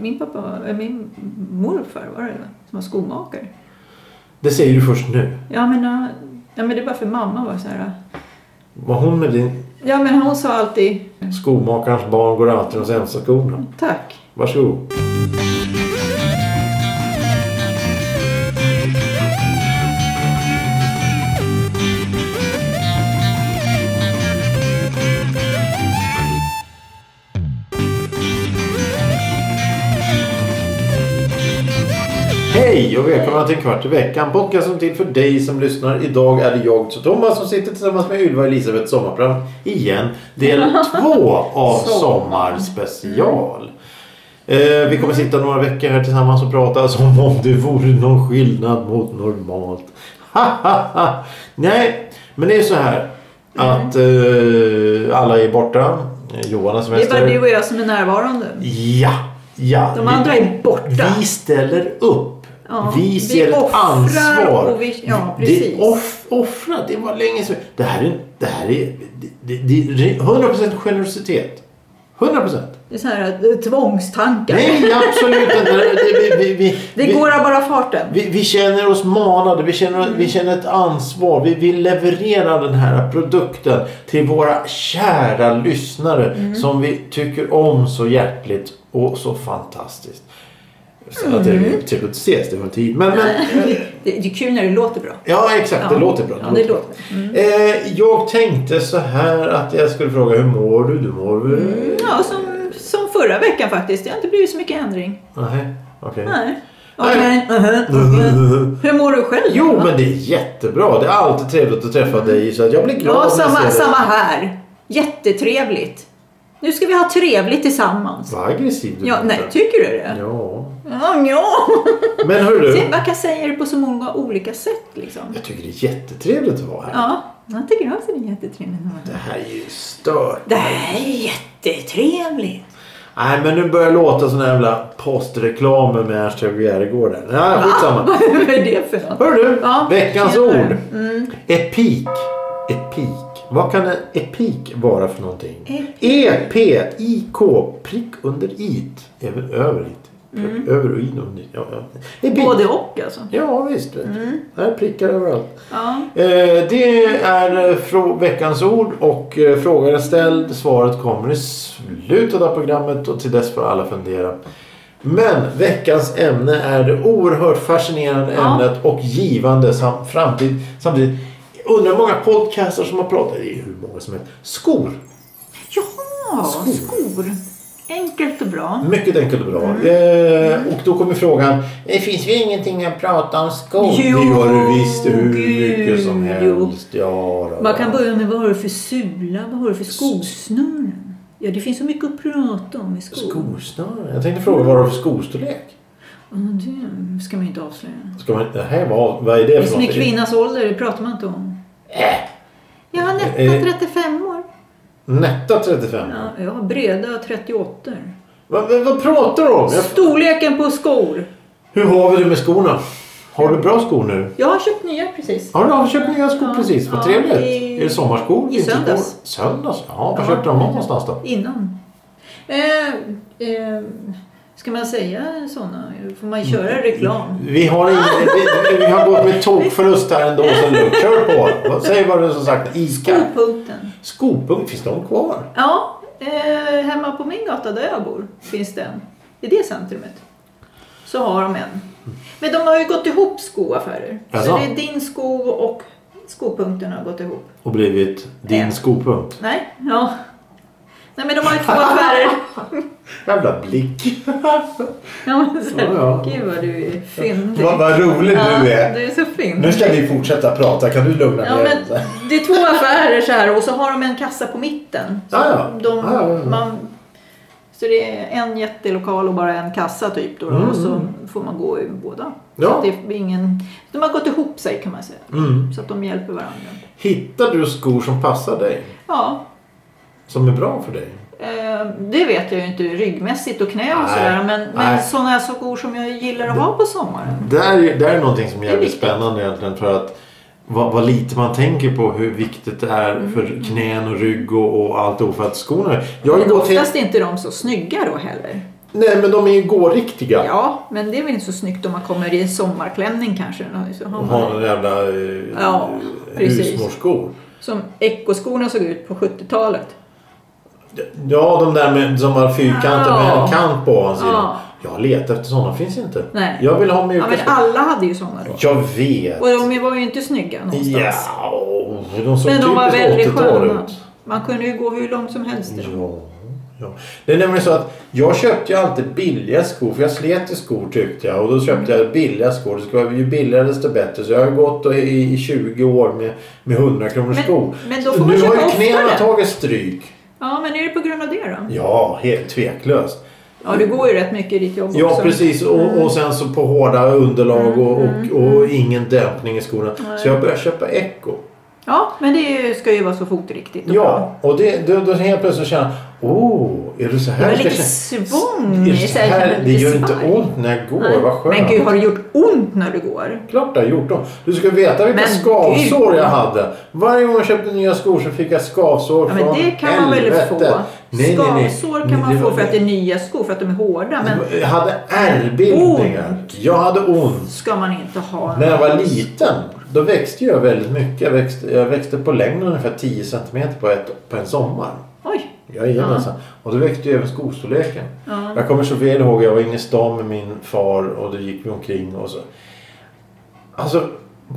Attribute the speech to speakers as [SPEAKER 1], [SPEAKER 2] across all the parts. [SPEAKER 1] Min, pappa, eller min morfar var det, som var skomakare.
[SPEAKER 2] Det säger du först nu.
[SPEAKER 1] Ja men, ja, ja, men det är bara för mamma var så här. eh.
[SPEAKER 2] Var hon med din
[SPEAKER 1] Ja men hon sa alltid
[SPEAKER 2] skomakarens barn går alltid hos ensamskorna?
[SPEAKER 1] tack.
[SPEAKER 2] Varsågod. Hej och välkomna till Kvart i veckan. Podcasten till för dig som lyssnar. Idag är det jag, så Thomas, som sitter tillsammans med Ylva och Elisabeth Sommarprat igen. Del två av Sommarspecial. Eh, vi kommer sitta några veckor här tillsammans och prata som om det vore någon skillnad mot normalt. Nej, men det är så här att eh, alla är borta. Eh, Johan har
[SPEAKER 1] Det är
[SPEAKER 2] semester.
[SPEAKER 1] bara du och jag som är närvarande.
[SPEAKER 2] Ja, ja.
[SPEAKER 1] De
[SPEAKER 2] vi-
[SPEAKER 1] andra är borta.
[SPEAKER 2] vi ställer upp.
[SPEAKER 1] Ja,
[SPEAKER 2] vi
[SPEAKER 1] vi
[SPEAKER 2] ser ett
[SPEAKER 1] offrar
[SPEAKER 2] ansvar.
[SPEAKER 1] och vi- ja,
[SPEAKER 2] det,
[SPEAKER 1] precis.
[SPEAKER 2] off, offra, det var länge sedan. Det här är, det här är det, det, det, är 100% generositet. 100%.
[SPEAKER 1] Det är så här eh, tvångstankar.
[SPEAKER 2] Nej, absolut inte. Det, vi, vi, vi,
[SPEAKER 1] Det
[SPEAKER 2] vi,
[SPEAKER 1] går av bara farten.
[SPEAKER 2] vi, vi känner oss manade, vi känner,
[SPEAKER 1] Mm.
[SPEAKER 2] vi känner ett ansvar. Vi vill leverera den här produkten till våra kära lyssnare
[SPEAKER 1] Mm.
[SPEAKER 2] som vi tycker om så hjärtligt och så fantastiskt. Sen att det
[SPEAKER 1] Mm.
[SPEAKER 2] är trevligt att ses, det var en tid. Men, men,
[SPEAKER 1] Det det är kul när det låter bra.
[SPEAKER 2] ja, exakt. Det
[SPEAKER 1] Ja.
[SPEAKER 2] låter bra.
[SPEAKER 1] Ja, det låter Mm.
[SPEAKER 2] bra. Eh, jag tänkte så här att jag skulle fråga hur mår du? Du mår... Mm.
[SPEAKER 1] Ja, som, som förra veckan faktiskt. Det har inte blivit så mycket ändring.
[SPEAKER 2] Nej, okej.
[SPEAKER 1] Nej.
[SPEAKER 2] Nej. Mm.
[SPEAKER 1] Okej. Mhm, mhm. Hur mår du själv?
[SPEAKER 2] Jo, men det är jättebra. Det är alltid trevligt att träffa dig. Så att jag blir glad
[SPEAKER 1] Ja,
[SPEAKER 2] när jag ser
[SPEAKER 1] samma,
[SPEAKER 2] dig.
[SPEAKER 1] samma här. Jättetrevligt. Nu ska vi ha trevligt tillsammans.
[SPEAKER 2] Vad aggressiv du
[SPEAKER 1] Ja,
[SPEAKER 2] låter.
[SPEAKER 1] nej, typ. tycker du det?
[SPEAKER 2] Ja.
[SPEAKER 1] Ja, ja.
[SPEAKER 2] Men hörru
[SPEAKER 1] Se,
[SPEAKER 2] du.
[SPEAKER 1] man kan säga det på så många olika sätt liksom.
[SPEAKER 2] Jag tycker det är jättetrevligt att vara här.
[SPEAKER 1] Ja, jag tycker också det är jättetrevligt.
[SPEAKER 2] Det här är ju stört.
[SPEAKER 1] Det här är jättetrevligt.
[SPEAKER 2] Nej men nu börjar det låta sån här jävla postreklamer med Ernst Hugo Järegård där. Nej skitsamma.
[SPEAKER 1] Vad är det för något?
[SPEAKER 2] Hörru du.
[SPEAKER 1] Ja, Mm.
[SPEAKER 2] veckans
[SPEAKER 1] tjenare.
[SPEAKER 2] ord. Epik. Epik. Vad kan en epik vara för någonting? E
[SPEAKER 1] Epik.
[SPEAKER 2] E-P-I-K. Prick under it. Även över it. Prick Över och in under it. Ja, ja. Epik.
[SPEAKER 1] Mm. Både Mm. och alltså.
[SPEAKER 2] Ja visst. vet du. Här prickar överallt.
[SPEAKER 1] Ja.
[SPEAKER 2] Eh, Det är eh, frå- veckans ord och eh, frågan är ställd. Svaret kommer i slutet av programmet och till dess får alla fundera. Men veckans ämne är det oerhört fascinerande
[SPEAKER 1] Ja.
[SPEAKER 2] ämnet och givande sam framtid. Samtidigt undrar hur många podcaster som har pratat, det är hur många som helst, skor.
[SPEAKER 1] Ja,
[SPEAKER 2] Skor.
[SPEAKER 1] skor. Enkelt och bra.
[SPEAKER 2] Mycket enkelt och bra.
[SPEAKER 1] Mm.
[SPEAKER 2] Eh, och då kommer frågan, det finns ju ingenting att prata om skor.
[SPEAKER 1] Jo,
[SPEAKER 2] det gör det visst hur mycket som
[SPEAKER 1] gud, jo.
[SPEAKER 2] helst. Ja, då.
[SPEAKER 1] Man kan börja med vad har du för sula, vad har du för skosnören? Ja, det finns så mycket att prata om i skor.
[SPEAKER 2] Skosnören? Jag tänkte fråga vad du har för skostorlek?
[SPEAKER 1] Ja, det ska man ju inte avslöja.
[SPEAKER 2] Ska man, det här var, vad är det
[SPEAKER 1] Det
[SPEAKER 2] för
[SPEAKER 1] som är
[SPEAKER 2] någonting? Äh!
[SPEAKER 1] kvinnas ålder, det pratar man inte om. Jag har
[SPEAKER 2] Eh.
[SPEAKER 1] nätta 35 år.
[SPEAKER 2] Nätta 35?
[SPEAKER 1] Ja, jag har breda 38.
[SPEAKER 2] Vad, vad, vad pratar du om? Jag,
[SPEAKER 1] Storleken på skor.
[SPEAKER 2] hur har vi det med skorna? Har du bra skor nu?
[SPEAKER 1] Jag har köpt nya precis.
[SPEAKER 2] Har du har du köpt nya skor
[SPEAKER 1] Ja.
[SPEAKER 2] precis? Vad
[SPEAKER 1] Ja,
[SPEAKER 2] trevligt.
[SPEAKER 1] i-
[SPEAKER 2] är det sommarskor?
[SPEAKER 1] i
[SPEAKER 2] vinterskor?
[SPEAKER 1] söndags.
[SPEAKER 2] Söndags? Ja, var
[SPEAKER 1] Ja.
[SPEAKER 2] köpte de dem någonstans då?
[SPEAKER 1] Innan. Eh, eh, ska man säga sådana? Får man
[SPEAKER 2] Mm.
[SPEAKER 1] köra reklam?
[SPEAKER 2] Vi har, ingen,
[SPEAKER 1] Ah!
[SPEAKER 2] vi, vi har gått med tokförlust här ändå. Så nu. Kör på! Vad- Säg vad du som sagt. Ica.
[SPEAKER 1] Skopunkten.
[SPEAKER 2] Skopunkt, finns de kvar?
[SPEAKER 1] Ja, eh, hemma på min gata där jag bor finns det en. I det centrumet. Så har de en. Men de har ju gått ihop skoaffärer.
[SPEAKER 2] Jaså?
[SPEAKER 1] Så det är din sko och skopunkten har gått ihop.
[SPEAKER 2] Och blivit din
[SPEAKER 1] En.
[SPEAKER 2] skopunkt.
[SPEAKER 1] Nej, ja. Nej men de har ju två affärer.
[SPEAKER 2] Jävla blick.
[SPEAKER 1] Ja, men så här,
[SPEAKER 2] Ja, ja.
[SPEAKER 1] Gud vad du är fyndig.
[SPEAKER 2] Vad, vad rolig
[SPEAKER 1] ja,
[SPEAKER 2] du är.
[SPEAKER 1] Du är så
[SPEAKER 2] Nu
[SPEAKER 1] fyndig.
[SPEAKER 2] ska vi fortsätta prata. Kan du lugna
[SPEAKER 1] Ja,
[SPEAKER 2] ner
[SPEAKER 1] men
[SPEAKER 2] dig?
[SPEAKER 1] det är två affärer så här och så har de en kassa på mitten. Så,
[SPEAKER 2] Ja, ja.
[SPEAKER 1] De,
[SPEAKER 2] Ja, Ah, ja, ja.
[SPEAKER 1] Man, så det är en jättelokal och bara en kassa typ. Då,
[SPEAKER 2] Mm,
[SPEAKER 1] Och så får man gå i båda.
[SPEAKER 2] Ja.
[SPEAKER 1] Så att det är ingen, de har gått ihop sig kan man säga.
[SPEAKER 2] Mm.
[SPEAKER 1] Så att de hjälper varandra.
[SPEAKER 2] Hittar du skor som passar dig?
[SPEAKER 1] Ja,
[SPEAKER 2] Som är bra för dig?
[SPEAKER 1] eh, det vet jag ju inte ryggmässigt och knä och
[SPEAKER 2] Nej.
[SPEAKER 1] sådär. Men, men
[SPEAKER 2] Nej.
[SPEAKER 1] sådana skor som jag gillar att ha på sommaren.
[SPEAKER 2] Där, är- där är någonting som är
[SPEAKER 1] Det är
[SPEAKER 2] jävligt
[SPEAKER 1] viktigt.
[SPEAKER 2] spännande egentligen. För att vad, vad lite man tänker på hur viktigt det är
[SPEAKER 1] Mm.
[SPEAKER 2] för knän och rygg och, och allt ofett skorna. Jag har ju
[SPEAKER 1] Men
[SPEAKER 2] gått helt...
[SPEAKER 1] oftast är inte de så snygga då heller.
[SPEAKER 2] Nej, men de är ju gåriktiga.
[SPEAKER 1] Ja, men det är väl inte så snyggt om man kommer i en sommarklänning kanske. Så har
[SPEAKER 2] Och
[SPEAKER 1] man-
[SPEAKER 2] har en jävla eh,
[SPEAKER 1] Ja, precis.
[SPEAKER 2] husmorsskor.
[SPEAKER 1] Som ekoskorna såg ut på 70-talet.
[SPEAKER 2] Ja, de där med, som har fyrkanter med
[SPEAKER 1] Ja.
[SPEAKER 2] en kant på ovansidan.
[SPEAKER 1] Ja.
[SPEAKER 2] Jag letar efter sådana, finns inte.
[SPEAKER 1] Nej.
[SPEAKER 2] Jag vill ha mjuka
[SPEAKER 1] Ja, men
[SPEAKER 2] skor.
[SPEAKER 1] alla hade ju sådana då.
[SPEAKER 2] Jag vet.
[SPEAKER 1] Och de var ju inte snygga någonstans.
[SPEAKER 2] Ja, de såg
[SPEAKER 1] Men de var väldigt
[SPEAKER 2] typiskt 80-tal
[SPEAKER 1] sköna.
[SPEAKER 2] ut.
[SPEAKER 1] Man kunde ju gå hur långt som helst. i dem.
[SPEAKER 2] Ja, ja. Det är nämligen så att jag köpte ju alltid billiga skor för jag slet i skor tyckte jag. Och då köpte jag billiga skor. Det ska vara ju billigare desto bättre. Så jag har gått och i, i 20 år med, med 100 kronors
[SPEAKER 1] Men-
[SPEAKER 2] skor.
[SPEAKER 1] men då får man
[SPEAKER 2] nu har
[SPEAKER 1] köpa
[SPEAKER 2] ju knäna
[SPEAKER 1] oftare.
[SPEAKER 2] tagit stryk.
[SPEAKER 1] Ja, men är det på grund av det då?
[SPEAKER 2] Ja, helt tveklöst.
[SPEAKER 1] Ja, du går ju rätt mycket i ditt jobb
[SPEAKER 2] Ja,
[SPEAKER 1] också.
[SPEAKER 2] precis. Och,
[SPEAKER 1] Mm.
[SPEAKER 2] och sen så på hårda underlag och, och, och ingen dämpning i skorna. Så jag började köpa Echo.
[SPEAKER 1] Ja, men det är ju- ska ju vara så fotriktigt och bra.
[SPEAKER 2] Ja, och det, då, då helt plötsligt känner jag Åh, är det så
[SPEAKER 1] Det
[SPEAKER 2] här
[SPEAKER 1] var
[SPEAKER 2] jag ska
[SPEAKER 1] lite
[SPEAKER 2] känna?"
[SPEAKER 1] svång.
[SPEAKER 2] Är det, så här, det gör inte
[SPEAKER 1] svaj.
[SPEAKER 2] ont när jag går,
[SPEAKER 1] Nej.
[SPEAKER 2] vad skönt.
[SPEAKER 1] Men gud, har det gjort ont när du går?
[SPEAKER 2] Klart det har gjort ont. Du ska veta vilka
[SPEAKER 1] Men
[SPEAKER 2] skavsår
[SPEAKER 1] gud.
[SPEAKER 2] jag hade. Varje gång jag köpte nya skor så fick jag skavsår
[SPEAKER 1] Ja,
[SPEAKER 2] från
[SPEAKER 1] men det kan man väl få?
[SPEAKER 2] helvete. Nej, nej, nej.
[SPEAKER 1] Skavsår kan man
[SPEAKER 2] Det
[SPEAKER 1] få
[SPEAKER 2] var-
[SPEAKER 1] för att det är nya skor, för att de är hårda. Men
[SPEAKER 2] Jag hade ärrbildningar. Jag hade ont.
[SPEAKER 1] ska man inte ha...
[SPEAKER 2] När jag var liten då växte jag väldigt mycket. Jag växte, jag växte på längden ungefär 10 cm på, ett, på en sommar.
[SPEAKER 1] Oj!
[SPEAKER 2] Jajamensan. alltså. Och då väckte ju även skostorleken.
[SPEAKER 1] Ja.
[SPEAKER 2] Jag kommer så väl ihåg, jag var inne i stan med min far och då gick vi omkring och så. Alltså,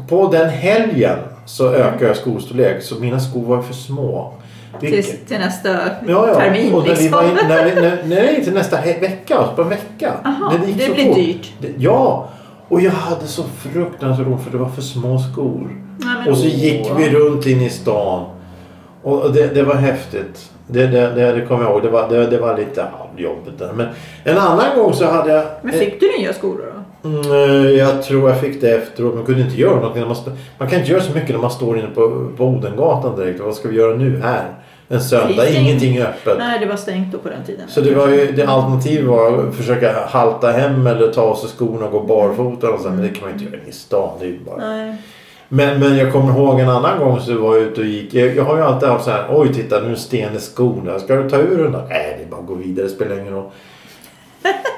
[SPEAKER 2] på den helgen så
[SPEAKER 1] Mm.
[SPEAKER 2] ökade jag skostorlek så mina skor var ju för små. Vilket-
[SPEAKER 1] Till, till nästa
[SPEAKER 2] Ja, ja.
[SPEAKER 1] termin
[SPEAKER 2] och när vi
[SPEAKER 1] liksom.
[SPEAKER 2] var in, när vi, när, nej, inte nästa he- vecka. alltså På en vecka.
[SPEAKER 1] Aha,
[SPEAKER 2] Men gick
[SPEAKER 1] det
[SPEAKER 2] så
[SPEAKER 1] blir
[SPEAKER 2] fort.
[SPEAKER 1] dyrt.
[SPEAKER 2] Det- Ja. Och jag hade så fruktansvärt ont för det var för små skor.
[SPEAKER 1] Nej, men
[SPEAKER 2] och så
[SPEAKER 1] åh.
[SPEAKER 2] gick vi runt in i stan. Och och det, det var häftigt. Det, det, det, det kommer jag ihåg. Det var, det, det var lite ja, jobbigt där. Men en annan gång så hade jag...
[SPEAKER 1] Men fick du nya skor då?
[SPEAKER 2] Mm, eh, jag tror jag fick det efteråt. Man kunde inte göra något. När man, stå- man kan inte göra så mycket när man står inne på, på Odengatan direkt. Vad ska vi göra nu här? En söndag.
[SPEAKER 1] Precis.
[SPEAKER 2] Ingenting är öppet.
[SPEAKER 1] Nej, det var stängt då på den tiden.
[SPEAKER 2] Så det var ju, det alternativet var att försöka halta hem eller ta av sig skorna och gå barfota och så, men det kan man ju inte göra i stan. Det är ju bara...
[SPEAKER 1] Nej.
[SPEAKER 2] men, men jag kommer ihåg en annan gång så var jag ute och gick. Jag, jag har ju alltid haft så här, oj titta nu är det en sten i skon där. Ska du ta ur den då? Nej, det är bara att gå vidare, det spelar ingen roll.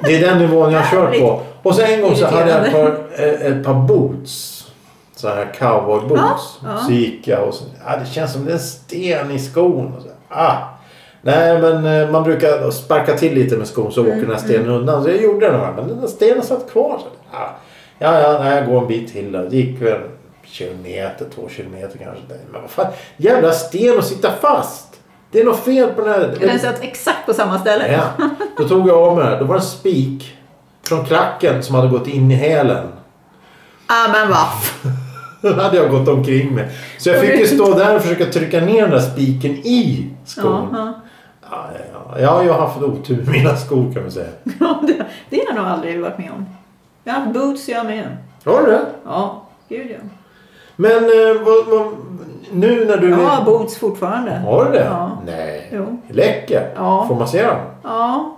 [SPEAKER 2] Det är den nivån jag har kört på. Och så en gång så hade jag ett par, eh, ett par boots. Så här cowboyboots.
[SPEAKER 1] Ja, ja.
[SPEAKER 2] Så gick jag och så, ah, det känns som det är en sten i skon. Och så, ah. Nej men eh, man brukar sparka till lite med skon så åker den här stenen undan. Så jag gjorde den här men den där stenen satt kvar. Så, ah. Ja ja, nej, jag går en bit till då. Det gick väl en kilometer, två kilometer kanske. Nej, Men vad fan, jävla sten att sitta fast. Det är något fel på den här.
[SPEAKER 1] Den satt exakt på samma ställe.
[SPEAKER 2] Ja, då tog jag av mig det. Då var det en spik från klacken som hade gått in i hälen.
[SPEAKER 1] Ah, men vad
[SPEAKER 2] Den hade jag gått omkring med. Så jag fick ju stå där och försöka trycka ner den där spiken i skon. Ja,
[SPEAKER 1] Ja,
[SPEAKER 2] ja, ja. ja, jag har haft otur med mina skor kan man säga.
[SPEAKER 1] ja. det, det har jag nog aldrig varit med om. Jag har haft boots jag med.
[SPEAKER 2] Har du det?
[SPEAKER 1] Ja, gud ja.
[SPEAKER 2] Men eh, vad, vad, nu när du...
[SPEAKER 1] Jag har boots fortfarande.
[SPEAKER 2] Har du det?
[SPEAKER 1] Ja.
[SPEAKER 2] Nej.
[SPEAKER 1] Jo.
[SPEAKER 2] Läcker.
[SPEAKER 1] Ja.
[SPEAKER 2] Får man se dem?
[SPEAKER 1] Ja.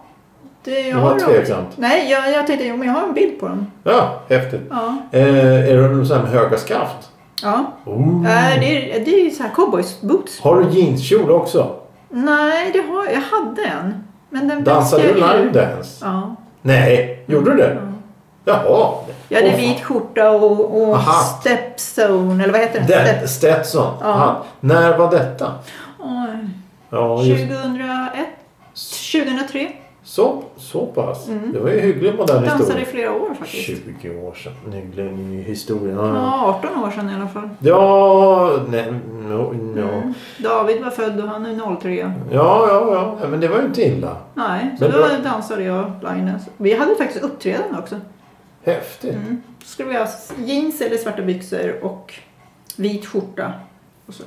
[SPEAKER 1] Det, jag
[SPEAKER 2] Det var
[SPEAKER 1] har dem.
[SPEAKER 2] tveksamt.
[SPEAKER 1] Nej, jag, jag tänkte jo, men jag har en bild på dem.
[SPEAKER 2] Ja, häftigt.
[SPEAKER 1] Ja.
[SPEAKER 2] Eh, är de så här med höga skaft?
[SPEAKER 1] ja.
[SPEAKER 2] Oh.
[SPEAKER 1] Äh, det, är, det är ju så här cowboys boots.
[SPEAKER 2] Har du jeanskjol också?
[SPEAKER 1] Nej, det har, jag hade en. Men den
[SPEAKER 2] Dansade du
[SPEAKER 1] växte jag ur.
[SPEAKER 2] line dance?
[SPEAKER 1] Ja.
[SPEAKER 2] Nej, gjorde du det? Jaha.
[SPEAKER 1] Jag hade
[SPEAKER 2] Åh,
[SPEAKER 1] vit skjorta och, och
[SPEAKER 2] Aha.
[SPEAKER 1] stepstone, eller vad heter den?
[SPEAKER 2] Det,
[SPEAKER 1] Step-
[SPEAKER 2] Stetson.
[SPEAKER 1] Ja.
[SPEAKER 2] Han. När var detta?
[SPEAKER 1] Oj.
[SPEAKER 2] Ja, just,
[SPEAKER 1] 2001, 2003.
[SPEAKER 2] så, så pass. Det var ju hyggligt modern
[SPEAKER 1] Mm. Dansade i
[SPEAKER 2] historia.
[SPEAKER 1] flera år faktiskt.
[SPEAKER 2] 20 år sedan. Hygglig ny historia. Ja, ja.
[SPEAKER 1] Ja, 18 år sedan i alla fall. Mm.
[SPEAKER 2] ja, nej, no, no.
[SPEAKER 1] David var född och han är 03.
[SPEAKER 2] ja, ja, ja. Nej, Men det var ju inte illa.
[SPEAKER 1] Nej, så
[SPEAKER 2] Men
[SPEAKER 1] då
[SPEAKER 2] bra.
[SPEAKER 1] dansade jag liners. Vi hade faktiskt uppträdande också.
[SPEAKER 2] Häftigt.
[SPEAKER 1] Mm. Då skulle vi ha jeans eller svarta byxor och vit skjorta. Och så.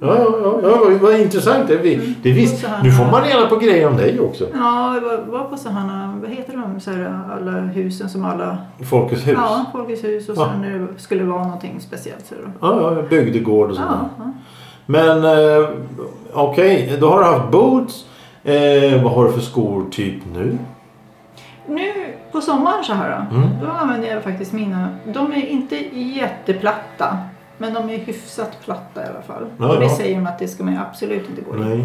[SPEAKER 2] Ja, ja, ja, ja, vad intressant. Det, vi, det är visst.
[SPEAKER 1] Och Mm. så här-
[SPEAKER 2] Nu får man reda på grejer om dig också.
[SPEAKER 1] Ja, jag var- var på sådana, vad heter de, så här, alla husen som alla...
[SPEAKER 2] Folkets hus.
[SPEAKER 1] Ja, Folkets hus och
[SPEAKER 2] Ja.
[SPEAKER 1] sen när det skulle vara någonting speciellt. Så då.
[SPEAKER 2] Ja, ja, bygdegård och sånt där.
[SPEAKER 1] Ja, ja.
[SPEAKER 2] Men eh, okej, då har du haft boots. Eh, vad har du för skor typ nu?
[SPEAKER 1] Nu på sommaren så här då,
[SPEAKER 2] Mm.
[SPEAKER 1] då använder jag faktiskt mina. De är inte jätteplatta. Men de är hyfsat platta i alla fall.
[SPEAKER 2] Ja,
[SPEAKER 1] och det
[SPEAKER 2] ja.
[SPEAKER 1] säger de att det ska man ju absolut inte gå i.
[SPEAKER 2] Nej.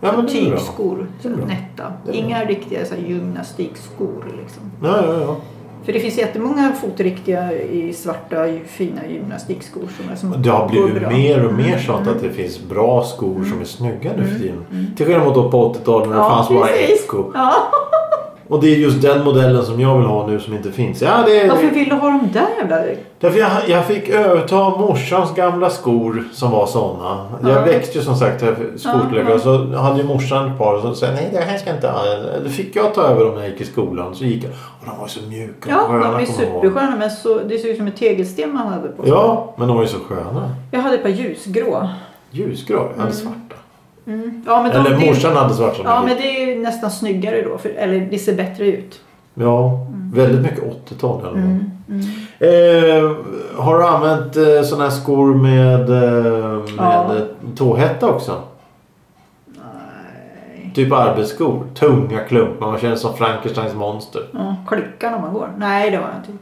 [SPEAKER 2] Ja, men det är bra.
[SPEAKER 1] Typskor, så
[SPEAKER 2] Det är bra.
[SPEAKER 1] nätta.
[SPEAKER 2] Det är bra.
[SPEAKER 1] Inga riktiga så här, gymnastikskor. Liksom.
[SPEAKER 2] Ja, ja, ja.
[SPEAKER 1] För det finns jättemånga fotriktiga i svarta ju- fina gymnastikskor. Som är, som
[SPEAKER 2] Det har
[SPEAKER 1] går
[SPEAKER 2] blivit
[SPEAKER 1] bra. Mm.
[SPEAKER 2] mer och mer sånt att det finns bra skor som är snygga nu för tiden. Till skillnad mot då på 80-talet när det
[SPEAKER 1] Mm. Ja,
[SPEAKER 2] fanns bara ett
[SPEAKER 1] precis.
[SPEAKER 2] sko.
[SPEAKER 1] Ja.
[SPEAKER 2] Och det är just den modellen som jag vill ha nu som inte finns. Ja, det
[SPEAKER 1] Varför
[SPEAKER 2] är...
[SPEAKER 1] vill du ha de där jävla...
[SPEAKER 2] Därför jag, jag fick överta morsans gamla skor som var såna.
[SPEAKER 1] Ja.
[SPEAKER 2] Jag växte ju som sagt här skolstorlekar.
[SPEAKER 1] Ja,
[SPEAKER 2] och Så hade ju morsan ett par som sa nej det här ska jag inte ha. Då fick jag ta över dem när jag gick i skolan. Så gick jag. Och de var så mjuka
[SPEAKER 1] Ja,
[SPEAKER 2] och sköna.
[SPEAKER 1] de är
[SPEAKER 2] kommer jag ihåg.
[SPEAKER 1] supersköna men så, det ser ut som en tegelsten man hade på sig.
[SPEAKER 2] Ja, men de var ju så sköna.
[SPEAKER 1] Jag hade ett par ljusgrå.
[SPEAKER 2] Ljusgrå. Jag hade svarta.
[SPEAKER 1] Mm. Ja, men de,
[SPEAKER 2] Eller
[SPEAKER 1] det-
[SPEAKER 2] morsan hade svarta. som
[SPEAKER 1] Ja,
[SPEAKER 2] jag
[SPEAKER 1] men det är ju nästan snyggare då. För, eller det ser bättre ut.
[SPEAKER 2] Ja,
[SPEAKER 1] Mm.
[SPEAKER 2] väldigt mycket 80-tal i alla fall. Eh, har du använt eh, såna här skor med, eh,
[SPEAKER 1] Ja.
[SPEAKER 2] med eh, tåhätta också?
[SPEAKER 1] Nej.
[SPEAKER 2] Typ arbetsskor. Tunga klumpar. Man känner sig som Frankensteins monster.
[SPEAKER 1] Ja, klickar när man går. Nej, det har jag inte gjort.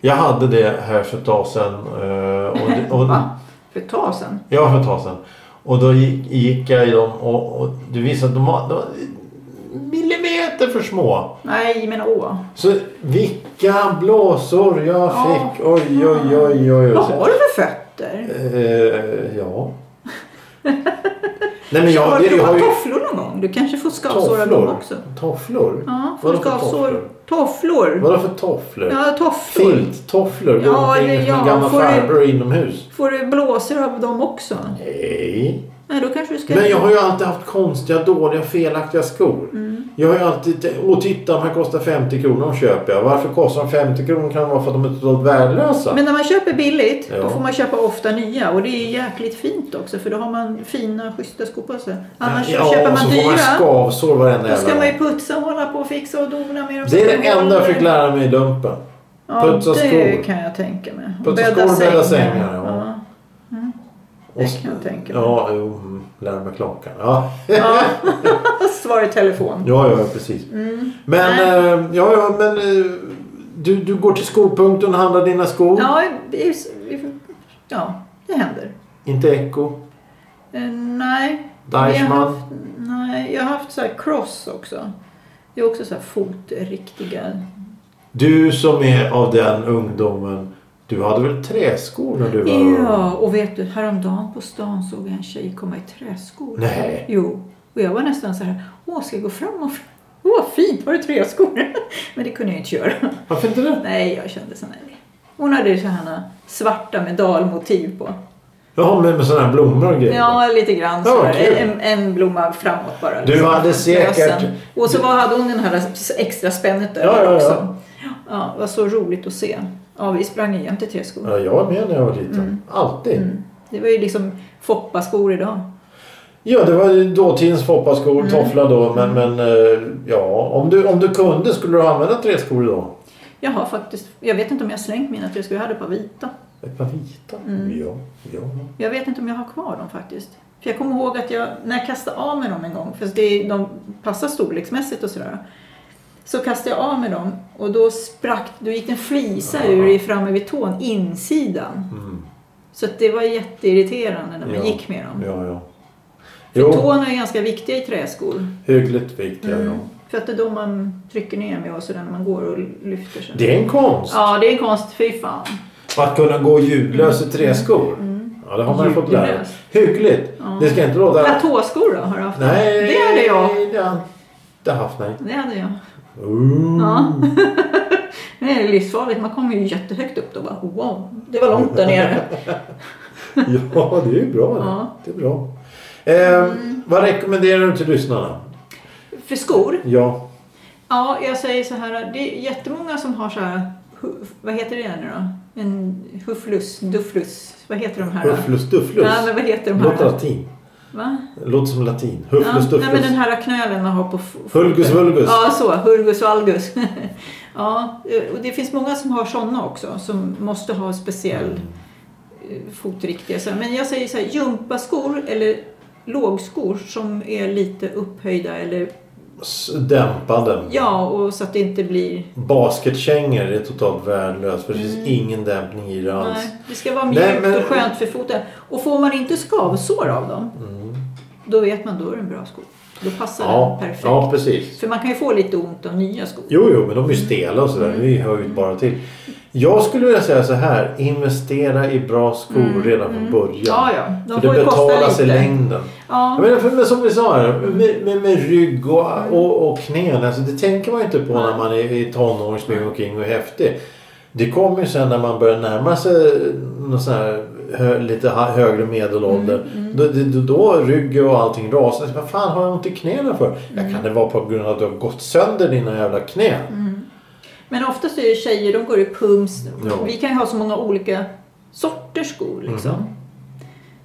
[SPEAKER 2] Jag hade det här för ett tag sedan. Eh, och det, och,
[SPEAKER 1] Va? För ett tag sedan.
[SPEAKER 2] ja, för ett tag sedan. Och då gick, gick jag i dem och, och du visste att de var, de var millimeter för små.
[SPEAKER 1] Nej, men åh.
[SPEAKER 2] Så vilka blåsor jag
[SPEAKER 1] Ja.
[SPEAKER 2] fick. Oj, oj, oj, oj.
[SPEAKER 1] Vad
[SPEAKER 2] oj.
[SPEAKER 1] har du för fötter?
[SPEAKER 2] Eh, ja. Nej men
[SPEAKER 1] har
[SPEAKER 2] jag,
[SPEAKER 1] du
[SPEAKER 2] jag, jag har
[SPEAKER 1] provat
[SPEAKER 2] ju
[SPEAKER 1] tofflor någon gång? Du kanske får skavsår av dem
[SPEAKER 2] tofflor.
[SPEAKER 1] också.
[SPEAKER 2] Tofflor?
[SPEAKER 1] Ja, får
[SPEAKER 2] Vadå
[SPEAKER 1] du
[SPEAKER 2] för
[SPEAKER 1] skavsår?
[SPEAKER 2] tofflor?
[SPEAKER 1] Tofflor.
[SPEAKER 2] Vadå för tofflor?
[SPEAKER 1] Ja, tofflor.
[SPEAKER 2] Filttofflor? Går
[SPEAKER 1] Ja,
[SPEAKER 2] ja, omkring
[SPEAKER 1] eller
[SPEAKER 2] som en
[SPEAKER 1] ja,
[SPEAKER 2] gammal
[SPEAKER 1] får du-
[SPEAKER 2] farbror inomhus?
[SPEAKER 1] Får du blåsor av dem också?
[SPEAKER 2] Nej.
[SPEAKER 1] Nej, då kanske du ska...
[SPEAKER 2] Men jag har ju alltid haft konstiga, dåliga, felaktiga skor.
[SPEAKER 1] Mm.
[SPEAKER 2] Jag har ju alltid tänkt, åh titta de här kostar 50 kronor, de köper jag. Varför kostar de 50 kronor? Kan det vara för att de är totalt värdelösa?
[SPEAKER 1] Men när man köper billigt,
[SPEAKER 2] Ja.
[SPEAKER 1] då får man köpa ofta nya. Och det är jäkligt fint också, för då har man fina, schyssta skor på sig. Annars
[SPEAKER 2] ja,
[SPEAKER 1] köper
[SPEAKER 2] och så
[SPEAKER 1] man
[SPEAKER 2] får man
[SPEAKER 1] dyra.
[SPEAKER 2] skavsår varenda
[SPEAKER 1] Då ska
[SPEAKER 2] jävla
[SPEAKER 1] man ju
[SPEAKER 2] gång.
[SPEAKER 1] putsa och hålla på och fixa och dona med dem.
[SPEAKER 2] Det är det enda jag fick lära mig i lumpen.
[SPEAKER 1] Ja,
[SPEAKER 2] Putsa skor.
[SPEAKER 1] det kan jag tänka mig. Och
[SPEAKER 2] Putsa skor, bädda sängar, ja.
[SPEAKER 1] Det kan jag tänka mig.
[SPEAKER 2] Ja, jo, mm, lära mig klockan. Ja,
[SPEAKER 1] Ja. Svara i telefon.
[SPEAKER 2] ja, ja precis. Men,
[SPEAKER 1] Mm. Nej.
[SPEAKER 2] eh, ja, ja, men eh, du, du går till skopunkten och handlar dina skor.
[SPEAKER 1] Ja, det är- vi- ja, det händer.
[SPEAKER 2] Inte Echo.
[SPEAKER 1] Eh, Nej.
[SPEAKER 2] Deichmann.
[SPEAKER 1] Jag har haft, nej, jag har haft så här cross också. Det är också så här fotriktiga.
[SPEAKER 2] Du som är av den ungdomen. Du hade väl träskor när du var ung?
[SPEAKER 1] Ja, och vet du, häromdagen på stan såg jag en tjej komma i träskor.
[SPEAKER 2] Nej.
[SPEAKER 1] Jo, och jag var nästan så här, åh ska jag gå fram och fram? Åh vad fint, var det träskor? Men det kunde jag inte göra.
[SPEAKER 2] Varför inte det?
[SPEAKER 1] Nej, jag kände så nej. Hon hade så här svarta medalmotiv på.
[SPEAKER 2] Jaha, med, med sådana här blommor och grejer.
[SPEAKER 1] Ja, lite grann
[SPEAKER 2] Ja,
[SPEAKER 1] så här.
[SPEAKER 2] kul.
[SPEAKER 1] en, en blomma framåt bara.
[SPEAKER 2] Du hade säkert-
[SPEAKER 1] Lösen. Och så var, hade hon den här extra spännet där
[SPEAKER 2] Ja, ja, ja.
[SPEAKER 1] också. Ja, det var så roligt att se. Ja, vi sprang igen till tre skor.
[SPEAKER 2] Ja, jag var med när jag var liten.
[SPEAKER 1] Mm.
[SPEAKER 2] Alltid.
[SPEAKER 1] Det var ju liksom Foppa-skor idag.
[SPEAKER 2] Ja, det var ju dåtidens foppaskor,
[SPEAKER 1] Mm.
[SPEAKER 2] tofflar då. Men, men eh, ja, om du, om du kunde skulle du använda träskor idag?
[SPEAKER 1] Jag har faktiskt, jag vet inte om jag har slängt mina tre skor. Jag hade ett par vita.
[SPEAKER 2] Ett par vita?
[SPEAKER 1] Mm.
[SPEAKER 2] Ja, ja.
[SPEAKER 1] Jag vet inte om jag har kvar dem faktiskt. För jag kommer ihåg att jag, när jag kastade av mig dem en gång, för det, är- de passar storleksmässigt och sådär. Så kastade jag av mig dem och då sprack, då gick det en flisa
[SPEAKER 2] Ja.
[SPEAKER 1] ur i framme vid tån, insidan.
[SPEAKER 2] Mm.
[SPEAKER 1] Så att det var jätteirriterande när man
[SPEAKER 2] Ja.
[SPEAKER 1] gick med dem.
[SPEAKER 2] Ja, ja.
[SPEAKER 1] För
[SPEAKER 2] Jo,
[SPEAKER 1] tårna är ganska viktiga i träskor.
[SPEAKER 2] hyggligt viktiga.
[SPEAKER 1] Mm.
[SPEAKER 2] Ja.
[SPEAKER 1] För att det är då man trycker ner med och sådär när man går och lyfter sig.
[SPEAKER 2] Det är en konst.
[SPEAKER 1] Ja, det är en konst. Fy fan.
[SPEAKER 2] Att kunna gå ljudlös i träskor. Ja, det har man ju fått lära
[SPEAKER 1] Mm. Ljudlös.
[SPEAKER 2] Hyggligt. Det ska inte låta...
[SPEAKER 1] Platåskor då, har du haft?
[SPEAKER 2] Nej,
[SPEAKER 1] Det hade jag.
[SPEAKER 2] Det har inte haft, nej.
[SPEAKER 1] Det hade jag.
[SPEAKER 2] Ooh.
[SPEAKER 1] Ja. Det är livsfarligt. Man kommer ju jättehögt upp då. Bara, wow, det var långt där nere.
[SPEAKER 2] Ja, det är ju bra det.
[SPEAKER 1] Ja. Mm.
[SPEAKER 2] Det är bra. Eh, Vad rekommenderar du till lyssnarna?
[SPEAKER 1] För skor?
[SPEAKER 2] Ja,
[SPEAKER 1] Ja, jag säger så här. Det är jättemånga som har så här. hu- Vad heter det nu då? En hufflus, dufflus. Vad heter de här? då?
[SPEAKER 2] hufflus dufflus.
[SPEAKER 1] Nej, men vad heter de här?
[SPEAKER 2] Låter
[SPEAKER 1] då?
[SPEAKER 2] latin.
[SPEAKER 1] Va?
[SPEAKER 2] Låter som latin.
[SPEAKER 1] Ja,
[SPEAKER 2] Hufflus
[SPEAKER 1] nej, men
[SPEAKER 2] dufflus.
[SPEAKER 1] den här knölen man har på f-
[SPEAKER 2] Hulgus vulgus.
[SPEAKER 1] Ja, så. Hurgus valgus. ja, eh, och det finns många som har sådana också som måste ha speciell eh, fotriktiga. så här. Men jag säger så här, gympaskor eller lågskor som är lite upphöjda eller
[SPEAKER 2] S- Dämpade.
[SPEAKER 1] ja, och så att det inte blir...
[SPEAKER 2] Basketkängor är totalt värdelöst för det
[SPEAKER 1] Mm.
[SPEAKER 2] finns ingen dämpning i det alls.
[SPEAKER 1] Nej, det ska vara
[SPEAKER 2] Nej,
[SPEAKER 1] mjukt
[SPEAKER 2] men-
[SPEAKER 1] och skönt för foten. Och får man inte skavsår av dem, Då vet man, då är det en bra sko. Då passar
[SPEAKER 2] Mm. Ja,
[SPEAKER 1] den perfekt.
[SPEAKER 2] ja, precis.
[SPEAKER 1] För man kan ju få lite ont av nya skor.
[SPEAKER 2] Jo, jo, men de är
[SPEAKER 1] Mm.
[SPEAKER 2] ju stela och sådär. Vi hör ju bara till. Jag skulle vilja säga så här. Investera i bra skor redan från början.
[SPEAKER 1] Mm. Ja, ja. De
[SPEAKER 2] för
[SPEAKER 1] får
[SPEAKER 2] det
[SPEAKER 1] ju kosta
[SPEAKER 2] betalar sig i
[SPEAKER 1] lite.
[SPEAKER 2] längden.
[SPEAKER 1] Ja.
[SPEAKER 2] Jag menar, för, men som vi sa här, med, med, med rygg och, och, och knän. Alltså, det tänker man ju inte på när man är i tonåren, springer omkring och är häftig. Det kommer ju sen när man börjar närma sig någon sån här hö, lite ha- högre medelålder.
[SPEAKER 1] Mm,
[SPEAKER 2] Då, det- då, då rygg och allting rasar. Så, Vad fan har jag ont i knäna för?
[SPEAKER 1] Mm.
[SPEAKER 2] Ja, kan det vara på grund av att du har gått sönder dina jävla knän? Mm.
[SPEAKER 1] Men oftast är det tjejer, de går i pumps.
[SPEAKER 2] Ja.
[SPEAKER 1] Vi kan ju ha så många olika sorters skor liksom.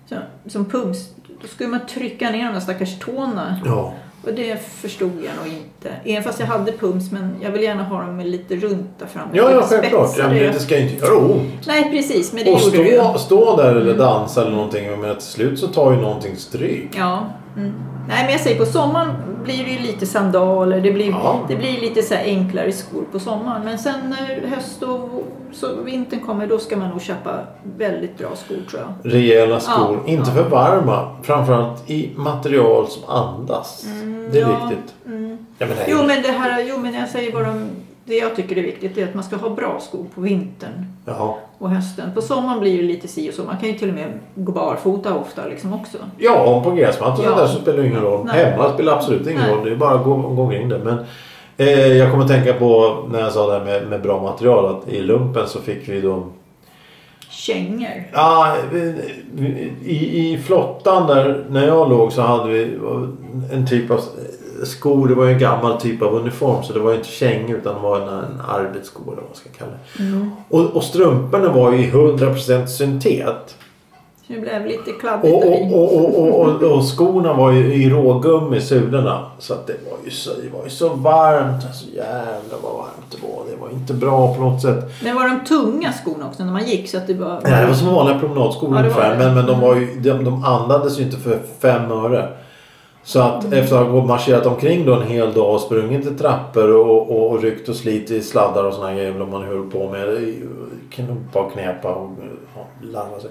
[SPEAKER 1] Så, som pumps, då skulle man trycka ner de där stackars tårna.
[SPEAKER 2] Ja.
[SPEAKER 1] Och det förstod jag nog inte. Även fast jag hade pumps, men jag vill gärna ha dem med lite runt där framme.
[SPEAKER 2] Ja, ja,
[SPEAKER 1] Lite
[SPEAKER 2] självklart. Ja,
[SPEAKER 1] spetsade.
[SPEAKER 2] men det ska ju inte göra ont.
[SPEAKER 1] Nej, precis. Men det
[SPEAKER 2] Och
[SPEAKER 1] gjorde det ju. Mm.
[SPEAKER 2] stå, stå där eller dansa eller någonting. Men till slut så tar ju någonting stryk.
[SPEAKER 1] Ja. Mm. Nej, men jag säger på sommaren blir det ju lite sandaler. Det blir,
[SPEAKER 2] Ja.
[SPEAKER 1] det blir lite så här enklare skor på sommaren. Men sen när höst och så vintern kommer, då ska man nog köpa väldigt bra skor tror jag.
[SPEAKER 2] Rejäla skor.
[SPEAKER 1] Ja,
[SPEAKER 2] inte för varma. Framförallt i material som andas. det är
[SPEAKER 1] Mm, ja, mm.
[SPEAKER 2] viktigt. Ja, men det är
[SPEAKER 1] Jo, men det här, jo, men jag säger bara om- det jag tycker är viktigt är att man ska ha bra skor på vintern
[SPEAKER 2] Jaha.
[SPEAKER 1] och hösten. På sommaren blir det lite si och så. Man kan ju till och med gå barfota ofta liksom också.
[SPEAKER 2] Ja, om på gräsmattan
[SPEAKER 1] Ja.
[SPEAKER 2] och där så spelar det ingen roll.
[SPEAKER 1] Nej.
[SPEAKER 2] Hemma spelar det absolut ingen
[SPEAKER 1] Nej.
[SPEAKER 2] roll. Det är bara att gå, gå omkring det. Men, eh, jag kommer att tänka på när jag sa det här med, med bra material. Att i lumpen så fick vi då...
[SPEAKER 1] Kängor.
[SPEAKER 2] Ja, i, I flottan där när jag låg så hade vi en typ av skor. Det var ju en gammal typ av uniform så det var ju inte käng utan det var en, en arbetssko eller vad man ska kalla det. Och, och strumporna var ju i 100% syntet.
[SPEAKER 1] Så det blev lite kladdigt
[SPEAKER 2] Och,
[SPEAKER 1] och,
[SPEAKER 2] och, och, och, och, och, och skorna var ju i rågummi sulorna. Så att det var ju så, det var ju så varmt. Alltså jävlar vad varmt det var. Det var inte bra på något sätt.
[SPEAKER 1] Men var de tunga skorna också när man gick så att det var...
[SPEAKER 2] Nej, det var som vanliga promenadskor
[SPEAKER 1] Ja, det var
[SPEAKER 2] ungefär.
[SPEAKER 1] det. Mm.
[SPEAKER 2] Men, men de, var ju, de, de andades ju inte för fem öre. Så att
[SPEAKER 1] Mm.
[SPEAKER 2] efter att ha gått- marscherat omkring då en hel dag och sprungit i trappor och, och, och ryckt och slit i sladdar och såna här grejer vad man höll på med. Knopa och knäpa och ja, larva sig.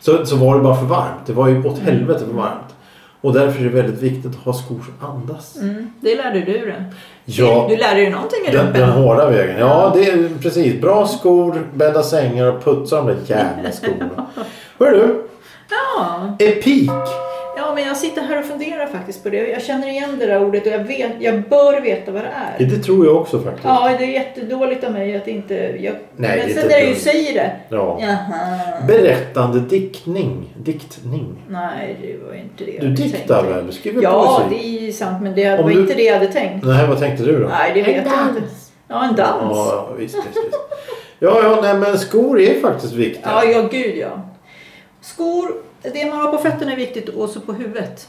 [SPEAKER 2] Så, så var det bara för varmt. Det var ju
[SPEAKER 1] Mm.
[SPEAKER 2] åt helvete för varmt. Och därför är det väldigt viktigt att ha skor som andas.
[SPEAKER 1] Mm, det lärde du dig.
[SPEAKER 2] Ja,
[SPEAKER 1] Du lärde dig någonting i
[SPEAKER 2] den,
[SPEAKER 1] lumpen.
[SPEAKER 2] den hårda vägen. Ja, det är precis. Bra skor, bädda sängar och putsa de där jävla skorna. Hörru du.
[SPEAKER 1] Ja.
[SPEAKER 2] Epik.
[SPEAKER 1] ja, men jag sitter här och funderar faktiskt på det. Jag känner igen det där ordet och jag, vet, jag bör veta vad det är.
[SPEAKER 2] Det tror jag också faktiskt.
[SPEAKER 1] Ja, det är jättedåligt av mig att inte... Jag...
[SPEAKER 2] Nej, det
[SPEAKER 1] men
[SPEAKER 2] är
[SPEAKER 1] sen
[SPEAKER 2] inte
[SPEAKER 1] när jag ju
[SPEAKER 2] dumt.
[SPEAKER 1] säger det.
[SPEAKER 2] Ja.
[SPEAKER 1] Jaha.
[SPEAKER 2] Berättande diktning. Diktning.
[SPEAKER 1] Nej, det var inte det
[SPEAKER 2] Du
[SPEAKER 1] jag
[SPEAKER 2] diktar
[SPEAKER 1] tänkte.
[SPEAKER 2] väl? Du skriver
[SPEAKER 1] Ja,
[SPEAKER 2] poesi.
[SPEAKER 1] det är ju sant. Men det
[SPEAKER 2] Om
[SPEAKER 1] var
[SPEAKER 2] du-
[SPEAKER 1] inte det jag hade tänkt.
[SPEAKER 2] Nej, vad tänkte du då?
[SPEAKER 1] Nej, det vet jag inte. Ja, en dans.
[SPEAKER 2] Ja, visst, visst, visst. Ja, ja, nej, men skor är faktiskt viktiga.
[SPEAKER 1] Ja, ja, gud ja. Skor, det man har på fötterna är viktigt och så på huvudet.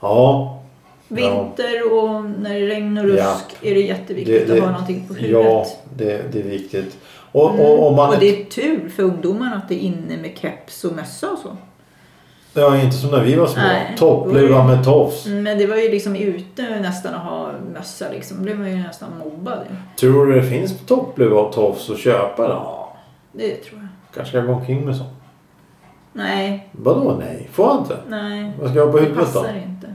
[SPEAKER 2] Ja,
[SPEAKER 1] Vinter och när det regnar och
[SPEAKER 2] Ja.
[SPEAKER 1] rusk är det jätteviktigt att ha någonting på huvudet. Mm.
[SPEAKER 2] Ja, det, det är viktigt. Och, och, och man...
[SPEAKER 1] Och det är tur för ungdomarna att det är inne med keps och mössa och så.
[SPEAKER 2] Ja, inte som när vi var små.
[SPEAKER 1] Nej. Mm.
[SPEAKER 2] Toppluva med tofs.
[SPEAKER 1] Men det var ju liksom ute nästan att ha mössa liksom. Då blev man ju nästan mobbad. ju.
[SPEAKER 2] Tror du det finns toppluva och tofs att köpa då?
[SPEAKER 1] Ja, det tror jag.
[SPEAKER 2] Kanske ska jag gå omkring med sånt.
[SPEAKER 1] Nej,
[SPEAKER 2] Vadå nej? Får jag inte?
[SPEAKER 1] nej.
[SPEAKER 2] Vad ska jag ha på
[SPEAKER 1] Det
[SPEAKER 2] huvudet då?
[SPEAKER 1] passar inte.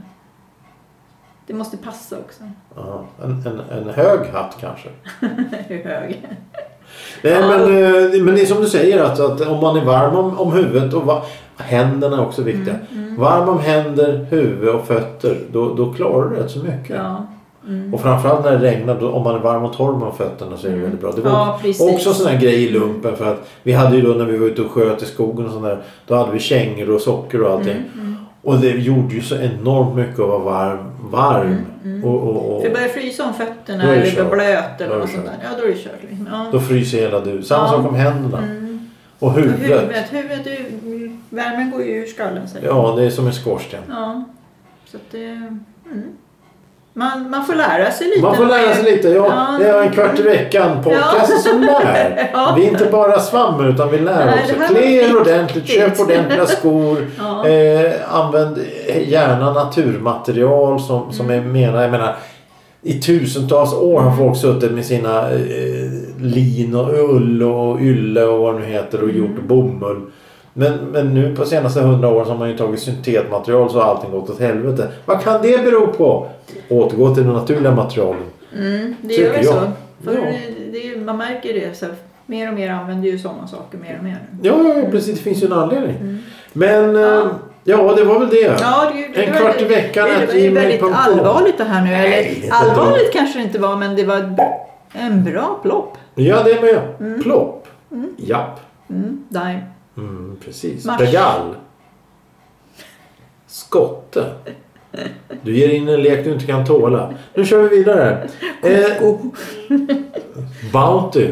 [SPEAKER 1] Det måste passa också.
[SPEAKER 2] Ja, en, en, en hög hatt kanske.
[SPEAKER 1] Hur hög?
[SPEAKER 2] Nej,
[SPEAKER 1] Ja.
[SPEAKER 2] men, eh, men det är som du säger att, att om man är varm om, om huvudet och va- händerna är också viktiga.
[SPEAKER 1] Mm.
[SPEAKER 2] Mm. Varm om händer, huvud och fötter då, då klarar du rätt så mycket.
[SPEAKER 1] Ja. Mm.
[SPEAKER 2] Och framförallt när det regnar, då, om man är varm och torr om fötterna så är det väldigt bra. Det var
[SPEAKER 1] Mm. Ja, precis.
[SPEAKER 2] också en sån här grej i lumpen för att vi hade ju då när vi var ute och sköt i skogen och sånt där. Då hade vi kängor och socker och
[SPEAKER 1] Mm.
[SPEAKER 2] allting. Och det gjorde ju så enormt mycket att vara varm. varm. Och, och, och,
[SPEAKER 1] Mm, För börjar frysa om fötterna
[SPEAKER 2] Då är det
[SPEAKER 1] eller blir
[SPEAKER 2] kört.
[SPEAKER 1] blöt eller
[SPEAKER 2] Då är
[SPEAKER 1] något
[SPEAKER 2] det
[SPEAKER 1] sånt där. Ja, då är det kört. Liksom. Ja.
[SPEAKER 2] Då fryser hela du. Samma
[SPEAKER 1] Ja.
[SPEAKER 2] sak om händerna.
[SPEAKER 1] Mm.
[SPEAKER 2] Och huvudet.
[SPEAKER 1] Huvudet, huvudet, är ju- värmen går ju ur skallen säger
[SPEAKER 2] Ja, det är som en skorsten.
[SPEAKER 1] ja. Så att det, mm. man, man får lära sig lite.
[SPEAKER 2] Man får lära sig lite. Ja,
[SPEAKER 1] Ja.
[SPEAKER 2] det är en kvart i veckan podcast som lär.
[SPEAKER 1] Ja.
[SPEAKER 2] Vi är inte bara svammar utan vi lär
[SPEAKER 1] Nej,
[SPEAKER 2] också.
[SPEAKER 1] det här var
[SPEAKER 2] Klä er
[SPEAKER 1] viktigt.
[SPEAKER 2] ordentligt, köp ordentliga skor.
[SPEAKER 1] Ja.
[SPEAKER 2] Eh, använd gärna naturmaterial som, som
[SPEAKER 1] Mm.
[SPEAKER 2] är mera, jag menar i tusentals år har folk suttit med sina
[SPEAKER 1] Mm.
[SPEAKER 2] eh, lin och ull och ylle och vad det nu heter och gjort bomull. Men, men nu på senaste hundra åren så har man ju tagit syntetmaterial så har allting gått åt helvete. Vad kan det bero på? Återgå till de naturliga materialen.
[SPEAKER 1] Mm, det
[SPEAKER 2] Tycker
[SPEAKER 1] gör väl
[SPEAKER 2] jag.
[SPEAKER 1] så. För
[SPEAKER 2] Ja.
[SPEAKER 1] det, det, är ju- man märker det. Så här, mer och mer använder ju sådana saker mer och mer.
[SPEAKER 2] Ja, ja, ja, precis. Det finns ju en anledning.
[SPEAKER 1] Mm.
[SPEAKER 2] Men
[SPEAKER 1] Ja.
[SPEAKER 2] ja, ja det var väl det.
[SPEAKER 1] Ja, det, det
[SPEAKER 2] En
[SPEAKER 1] var-
[SPEAKER 2] kvart i veckan
[SPEAKER 1] Det,
[SPEAKER 2] att
[SPEAKER 1] det var ju
[SPEAKER 2] Jimmy
[SPEAKER 1] väldigt
[SPEAKER 2] kom på.
[SPEAKER 1] allvarligt det här nu.
[SPEAKER 2] Nej, det
[SPEAKER 1] Eller
[SPEAKER 2] är inte
[SPEAKER 1] allvarligt kanske det inte var men det var ett bra- en bra plopp.
[SPEAKER 2] Ja, det är med. Plopp. Japp.
[SPEAKER 1] Mm, nej.
[SPEAKER 2] Mm, precis.
[SPEAKER 1] Mars.
[SPEAKER 2] Begall. Skotte. Du ger in en lek du inte kan tåla. Nu kör vi vidare. Eh,
[SPEAKER 1] Oh.
[SPEAKER 2] bounty.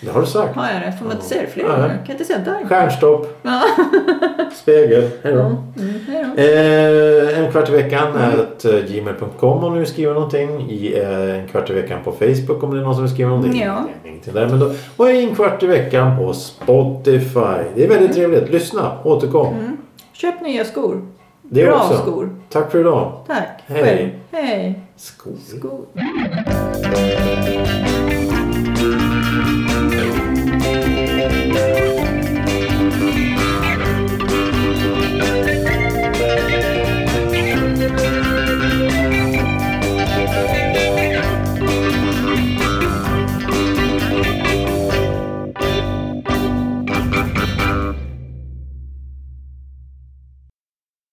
[SPEAKER 2] Det har du sagt.
[SPEAKER 1] Har jag det? Får man inte säga det fler
[SPEAKER 2] Ja.
[SPEAKER 1] gånger? Kan jag inte säga där?
[SPEAKER 2] Stjärnstopp. Spegel. Hej då.
[SPEAKER 1] Mm, hej då.
[SPEAKER 2] Eh, en kvart i veckan at eh, gmail.com om ni vill skriva någonting. I, eh, en kvart i veckan på Facebook om det är någon som vill skriva någonting.
[SPEAKER 1] Ja.
[SPEAKER 2] Det är ingenting där, men då, och en kvart i veckan på Spotify. Det är väldigt trevligt. Lyssna, återkom.
[SPEAKER 1] Mm. Köp nya skor.
[SPEAKER 2] Det
[SPEAKER 1] Bra
[SPEAKER 2] också.
[SPEAKER 1] skor.
[SPEAKER 2] Tack för idag.
[SPEAKER 1] Tack.
[SPEAKER 2] Hej.
[SPEAKER 1] Själv. Hej.
[SPEAKER 2] Skor.
[SPEAKER 1] Skor.